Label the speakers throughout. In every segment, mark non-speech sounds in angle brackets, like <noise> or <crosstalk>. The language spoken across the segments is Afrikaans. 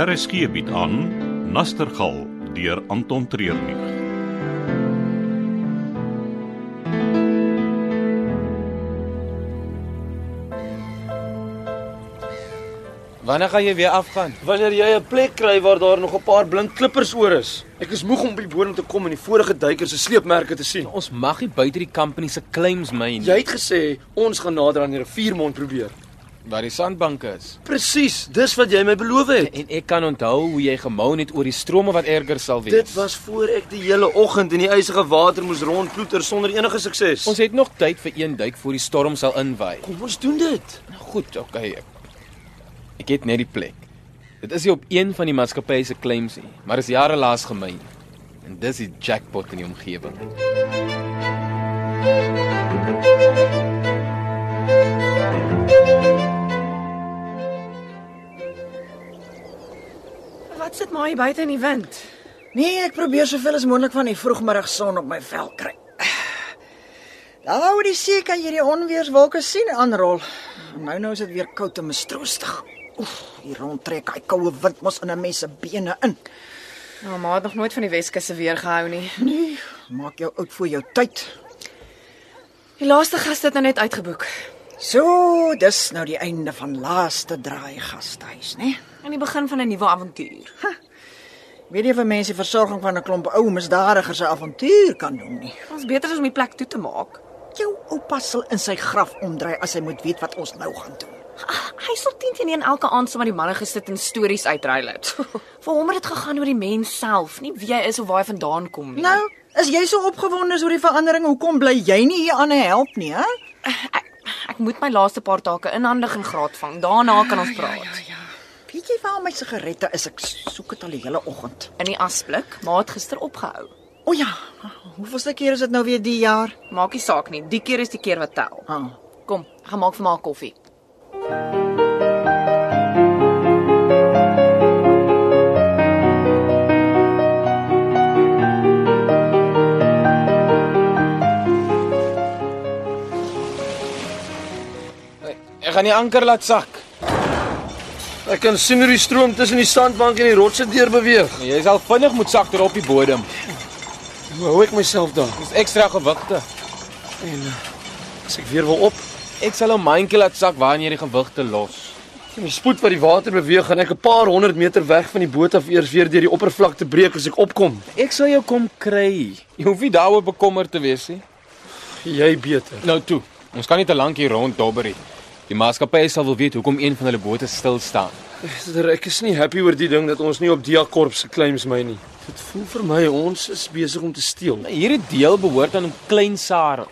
Speaker 1: RSG bied aan Nastergal deur Anton Treurnig.
Speaker 2: Wanneer gaan jy weer afgaan?
Speaker 3: Wanneer jy 'n plek kry waar daar nog 'n paar blink klippers oor is. Ek is moeg om op die bodem te kom en die vorige duikers se sleepmerke te sien.
Speaker 2: Ons mag nie buite die company se claims myn
Speaker 3: Jy het gesê ons gaan nader aan die riviermond probeer.
Speaker 2: waar die sandbanke is.
Speaker 3: Presies, dis wat jy my beloof het.
Speaker 2: En ek kan onthou hoe jy gemoun het oor die strome wat erger sal wees.
Speaker 3: Dit was voor ek die hele oggend in die ysige water moes rondploeter sonder enige sukses.
Speaker 2: Ons het nog tyd vir een duik voor die storm sal inwaai.
Speaker 3: kom ons doen dit.
Speaker 2: Nou goed, okay. Ek, ek het net die plek. Dit is nie op een van die maatskappye se claims nie, maar is jare laas gemyn. En dis die jackpot in die omgewing.
Speaker 4: Wat sit maar hier buite in die wind?
Speaker 5: Nee, ek probeer soveel as moontlik van die vroegmiddagson op my vel kry. Daar oor die see kan jy die onweerswolke sien aanrol. Nou nou is dit weer koud en mistroostig. Oef, hier rondtrek hy koue wind mos in 'n mens se bene in.
Speaker 4: Nou, ma het nog nooit van die Weskus se weer gehou nie.
Speaker 5: Nee, maak jou oud vir jou tyd.
Speaker 4: Die laaste gas het nou net uitgeboek.
Speaker 5: So, dis nou die einde van laaste draai gastehuis, né? Nee?
Speaker 4: Aan die begin van 'n nuwe avontuur.
Speaker 5: Weet jy vir mense versorging van 'n klomp ou misdadigers se avontuur kan doen nie.
Speaker 4: Ons beter is om die plek toe te maak.
Speaker 5: Jou oupa sal in sy graf omdry as hy moet weet wat ons nou gaan doen.
Speaker 4: Ag, Ah, Hy sal 10 teen 1 elke aand saam met die manne gesit en stories uitruil <laughs> het. Vir hom het dit gegaan oor die mens self, nie wie hy is of waar hy vandaan kom nie.
Speaker 5: Nou, as jy so opgewonde is oor die verandering, hoekom bly jy nie hier aan en help nie, hè?
Speaker 4: ek, ek moet my laaste paar take inhandig en graad vang. Daarna kan ons praat.
Speaker 5: ja. Weet jy waar my sigarette is? Ek soek dit al die hele oggend.
Speaker 4: In die asblik, maar het gister opgehou.
Speaker 5: O ja, hoeveelste keer is dit nou weer die jaar?
Speaker 4: Maak nie saak nie, die keer is die keer wat tel.
Speaker 5: Ah.
Speaker 4: Kom, gaan maak vir my 'n koffie.
Speaker 2: Ek gaan die anker laat sak.
Speaker 3: Ek kan sien hoe die stroom tussen die sandbank en die rotse deur beweeg.
Speaker 2: Jy sal vinnig moet sak terop die bodem.
Speaker 3: Hoe hou ek myself daar?
Speaker 2: Dis ekstra gewigte.
Speaker 3: En uh, as ek weer wil op,
Speaker 2: Ek sal 'n mandjie laat sak waarin jy die gewigte los.
Speaker 3: in die spoed wat die water beweeg, gaan ek 'n paar honderd meter weg van die boot af eers weer deur die oppervlakte breek as ek opkom.
Speaker 2: Ek sal jou kom kry. Jy hoef nie daaroor bekommerd te wees nie.
Speaker 3: Jy beter.
Speaker 2: Nou toe. Ons kan nie te lank hier rond dobber nie. Die maatskappy sal wil weet hoekom een van hulle bote stil staan.
Speaker 3: Sister, ek is nie happy oor die ding dat ons nie op Diakorp se claims my nie. Nee, Dit voel vir my ons is besig om te steel.
Speaker 2: Hierdie deel behoort aan 'n klein Sarel.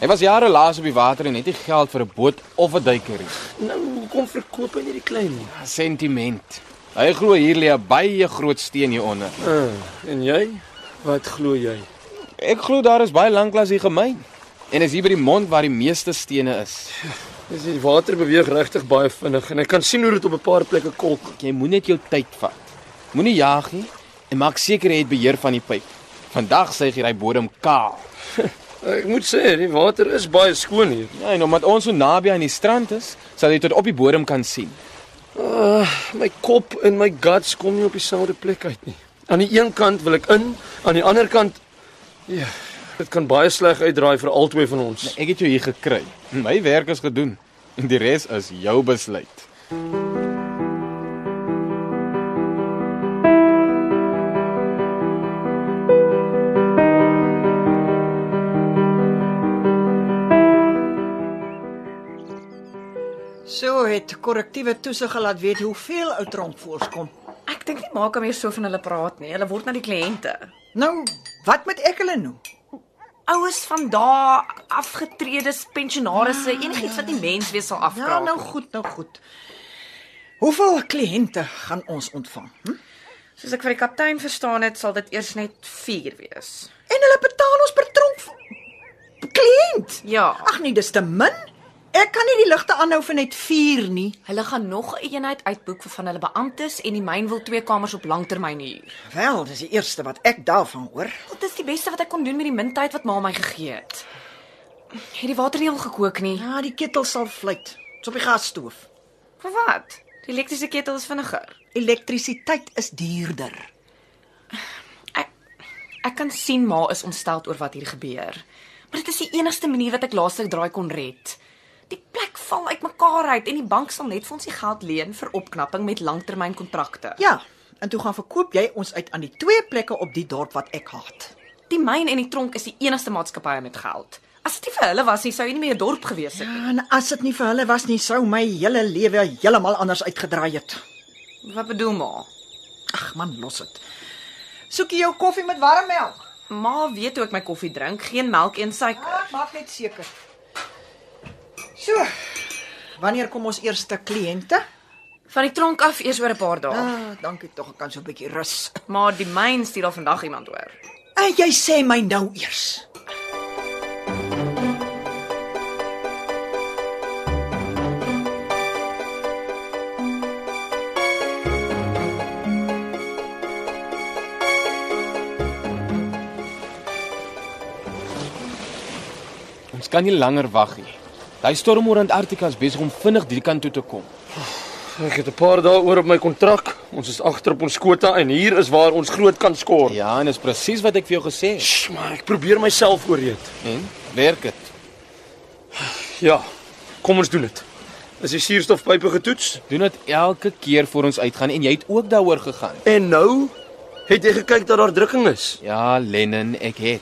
Speaker 2: Hy was jare laas op die water en het nie geld vir 'n boot of 'n duiker nie.
Speaker 3: Nou, hoekom verkoop hy nie die klein nie?
Speaker 2: Sentiment. Hy glo hier lê 'n baie groot steen hieronder.
Speaker 3: Uh, en jy? Wat glo jy?
Speaker 2: Ek glo daar is baie lanklaas hier gemyn. En is hier by die mond waar die meeste stene is.
Speaker 3: Dis die water beweeg regtig baie vinnig en ek kan sien hoe dit op 'n paar plekke kolk.
Speaker 2: Jy moet net jou tyd vat. Moenie jaag nie en maak seker jy het beheer van die pyp. Vandag suig jy daai bodem kaal.
Speaker 3: Ek moet sê, die water is baie skoon hier.
Speaker 2: Ja, en omdat ons so naby aan die strand is, sal jy tot op die bodem kan sien.
Speaker 3: My kop en my guts kom nie op dieselfde plek uit nie. Aan die een kant wil ek in, aan die ander kant ja, dit kan baie sleg uitdraai vir albei van ons.
Speaker 2: Ek het jou hier gekry. My werk is gedoen. En die res is jou besluit.
Speaker 5: So het korrektiewe toesig laat weet hoeveel ou tronk voorskom.
Speaker 4: Ek dink nie maak hom meer so van hulle praat nie. Hulle word na die kliënte.
Speaker 5: Nou, wat moet ek hulle noem?
Speaker 4: oues van daar afgetredes, pensionaarsse, enigiets wat nie menswees sal afkraak.
Speaker 5: Ja, nou goed, nou goed. Hoeveel kliënte gaan ons ontvang? Hm?
Speaker 4: Soos ek vir die kaptein verstaan het, sal dit eers net 4 wees.
Speaker 5: En hulle betaal ons per tronk v- kliënt.
Speaker 4: Ja.
Speaker 5: Ag nee, dis te min. Ek kan nie die ligte aanhou vir net 4 nie.
Speaker 4: Hulle gaan nog 'n eenheid uitboek vir van hulle beamptes en die myn wil twee kamers op langtermyn huur.
Speaker 5: Wel, dis die eerste wat ek daarvan hoor.
Speaker 4: Dit is die beste wat ek kon doen met die min tyd wat ma my gegee het. Het die water nie al gekook nie.
Speaker 5: Ja, die ketel sal vlieg. Dit's op die gasstoof.
Speaker 4: Vir wat? Die elektriese ketel is vinniger.
Speaker 5: Elektrisiteit is duurder.
Speaker 4: Ek ek kan sien ma is ontstel oor wat hier gebeur. Maar dit is die enigste manier wat ek laaslik draai kon red. Die plek val uitmekaar uit en die bank sal net vir ons die geld leen vir opknapping met langtermynkontrakte.
Speaker 5: Ja, en toe gaan verkoop jy ons uit aan die twee plekke op die dorp wat ek haat.
Speaker 4: Die myn en die tronk is die enigste maatskappye met geld. As dit nie vir hulle was nie, sou jy nie meer 'n dorp gewees het nie.
Speaker 5: En as dit nie vir hulle was nie, sou my hele lewe heeltemal anders uitgedraai het.
Speaker 4: Ja. Wat bedoel ma?
Speaker 5: Ag man, los dit. Soek jy jou koffie met warm melk? Ah,
Speaker 4: Ma weet hoe ek my koffie drink, geen melk en suiker.
Speaker 5: Ek maak net seker. So. Wanneer kom ons eerste kliënte?
Speaker 4: Van die tronk af eers oor 'n paar dae.
Speaker 5: Ah, dankie tog, ek kan so 'n bietjie rus.
Speaker 4: Maar die myn stuur al vandag iemand oor.
Speaker 5: En jy sê my nou eers.
Speaker 2: Ons kan nie langer wag nie. Daai storm oor Antarktika is besig om vinnig die kant toe te kom.
Speaker 3: Ek het 'n paar dae oor op my kontrak. Ons is agter op ons kwota en hier is waar ons groot kan skoor.
Speaker 2: Ja, en dis presies wat ek vir jou gesê het.
Speaker 3: Sh, maar ek probeer myself ooreed.
Speaker 2: En werk dit.
Speaker 3: Ja. Kom ons doen dit. Is die suurstofpype getoets?
Speaker 2: Doen dit elke keer voor ons uitgaan en jy het ook daaroor gegaan.
Speaker 3: En nou het jy gekyk dat daar drukking is.
Speaker 2: Ja, Lennon, ek het.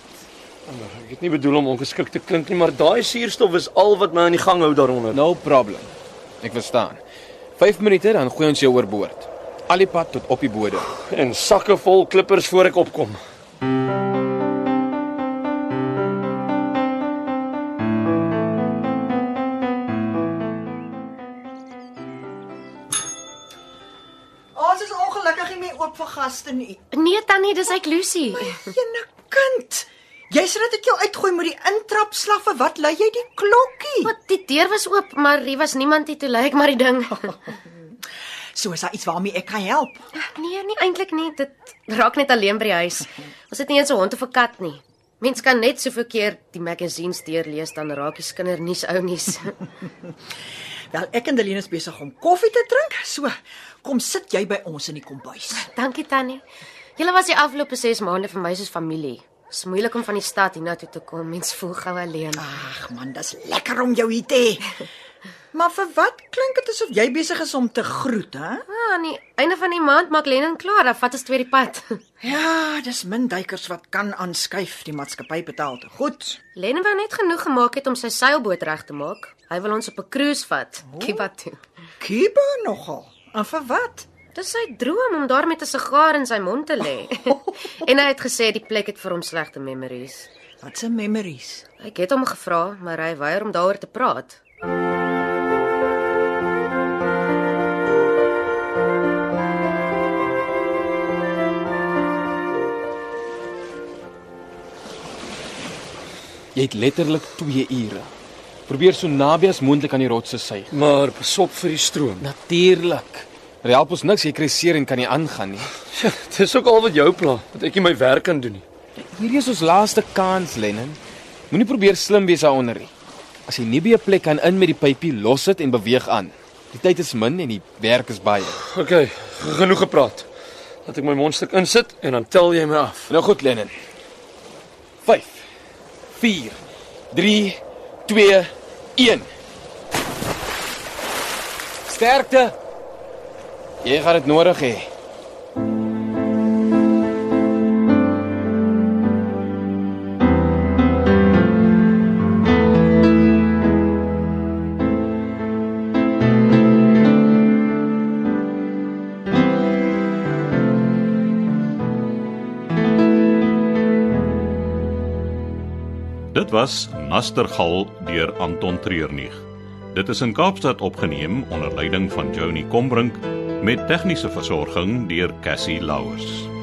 Speaker 3: Ek het nie bedoel om ongeskik te klink nie, maar daai suurstof is al wat my aan die gang hou daaronder.
Speaker 2: No problem. Ek verstaan. 5 minute dan gooi ons jou oorboord. Al die pad tot op die bodem.
Speaker 3: En sakke vol klippers voor ek opkom.
Speaker 5: Ons is ongelukkig nie meer oop vir gaste nie.
Speaker 6: Nee tannie, dis ek Lucy.
Speaker 5: Jene kind. Jy sê dat ek jou uitgooi met die intrapslaffe. Wat lei jy die klokkie?
Speaker 6: Wat die deur was oop, maar hier was niemand hier toe lê ek maar die ding.
Speaker 5: So is daar iets waarmee ek kan help.
Speaker 6: Nee, nie eintlik nie. Dit raak net alleen by die huis. Ons het nie eens 'n hond of 'n kat nie. Mens kan net soveel keer die magazines deurlees dan raak jy skinder nuus ou nuus.
Speaker 5: Wel, ek en Delene is besig om koffie te drink. So, kom sit jy by ons in die kombuis.
Speaker 6: <laughs> Dankie Tannie. Julle was die afgelope 6 maande vir my soos familie. Dis moeilik om van die stad hiernatoe te kom. Mens voel gou alleen.
Speaker 5: Ag man, dis lekker om jou hier te hê. Maar vir wat klink dit asof jy besig is om te groet, hè?
Speaker 6: Ah, aan die einde van die maand maak Lennon klaar, dan vat ons twee die pad. <laughs>
Speaker 5: Ja, dis min duikers wat kan aanskuif. Die maatskappy betaal te goed.
Speaker 6: Lennon wou net genoeg gemaak het om sy seilboot reg te maak. Hy wil ons op 'n cruise vat, Cuba toe.
Speaker 5: Kiba nogal. En vir wat?
Speaker 6: Dis sy droom om daar met 'n sigaar in sy mond te lê. en hy het gesê die plek het vir hom slegte memories.
Speaker 5: Wat se memories?
Speaker 6: Ek het hom gevra, maar hy weier om daaroor te praat.
Speaker 2: Jy het letterlik 2 ure. Probeer so naby as moontlik aan die rotse suig.
Speaker 3: Maar pasop vir die stroom.
Speaker 2: Natuurlik. Dit help ons niks jy kry seer en kan nie aangaan nie.
Speaker 3: Ja, dis ook al wat jou pla, dat ek nie my werk kan doen nie.
Speaker 2: Hierdie is ons laaste kans, Lennon. Moenie probeer slim wees daaronder nie. As jy nie by 'n plek kan in met die pypie, los dit en beweeg aan. Die tyd is min en die werk is baie.
Speaker 3: OK, genoeg gepraat. Laat ek my mondstuk insit en dan tel jy my af.
Speaker 2: Nou goed, Lennon. 5 4 3 2 1 Sterkte. Jy gaan dit nodig hê.
Speaker 1: Dit was Nastergal deur Anton Treurnig. Dit is in Kaapstad opgeneem onder leiding van Johnny Combrink met tegniese versorging deur Cassie Louws.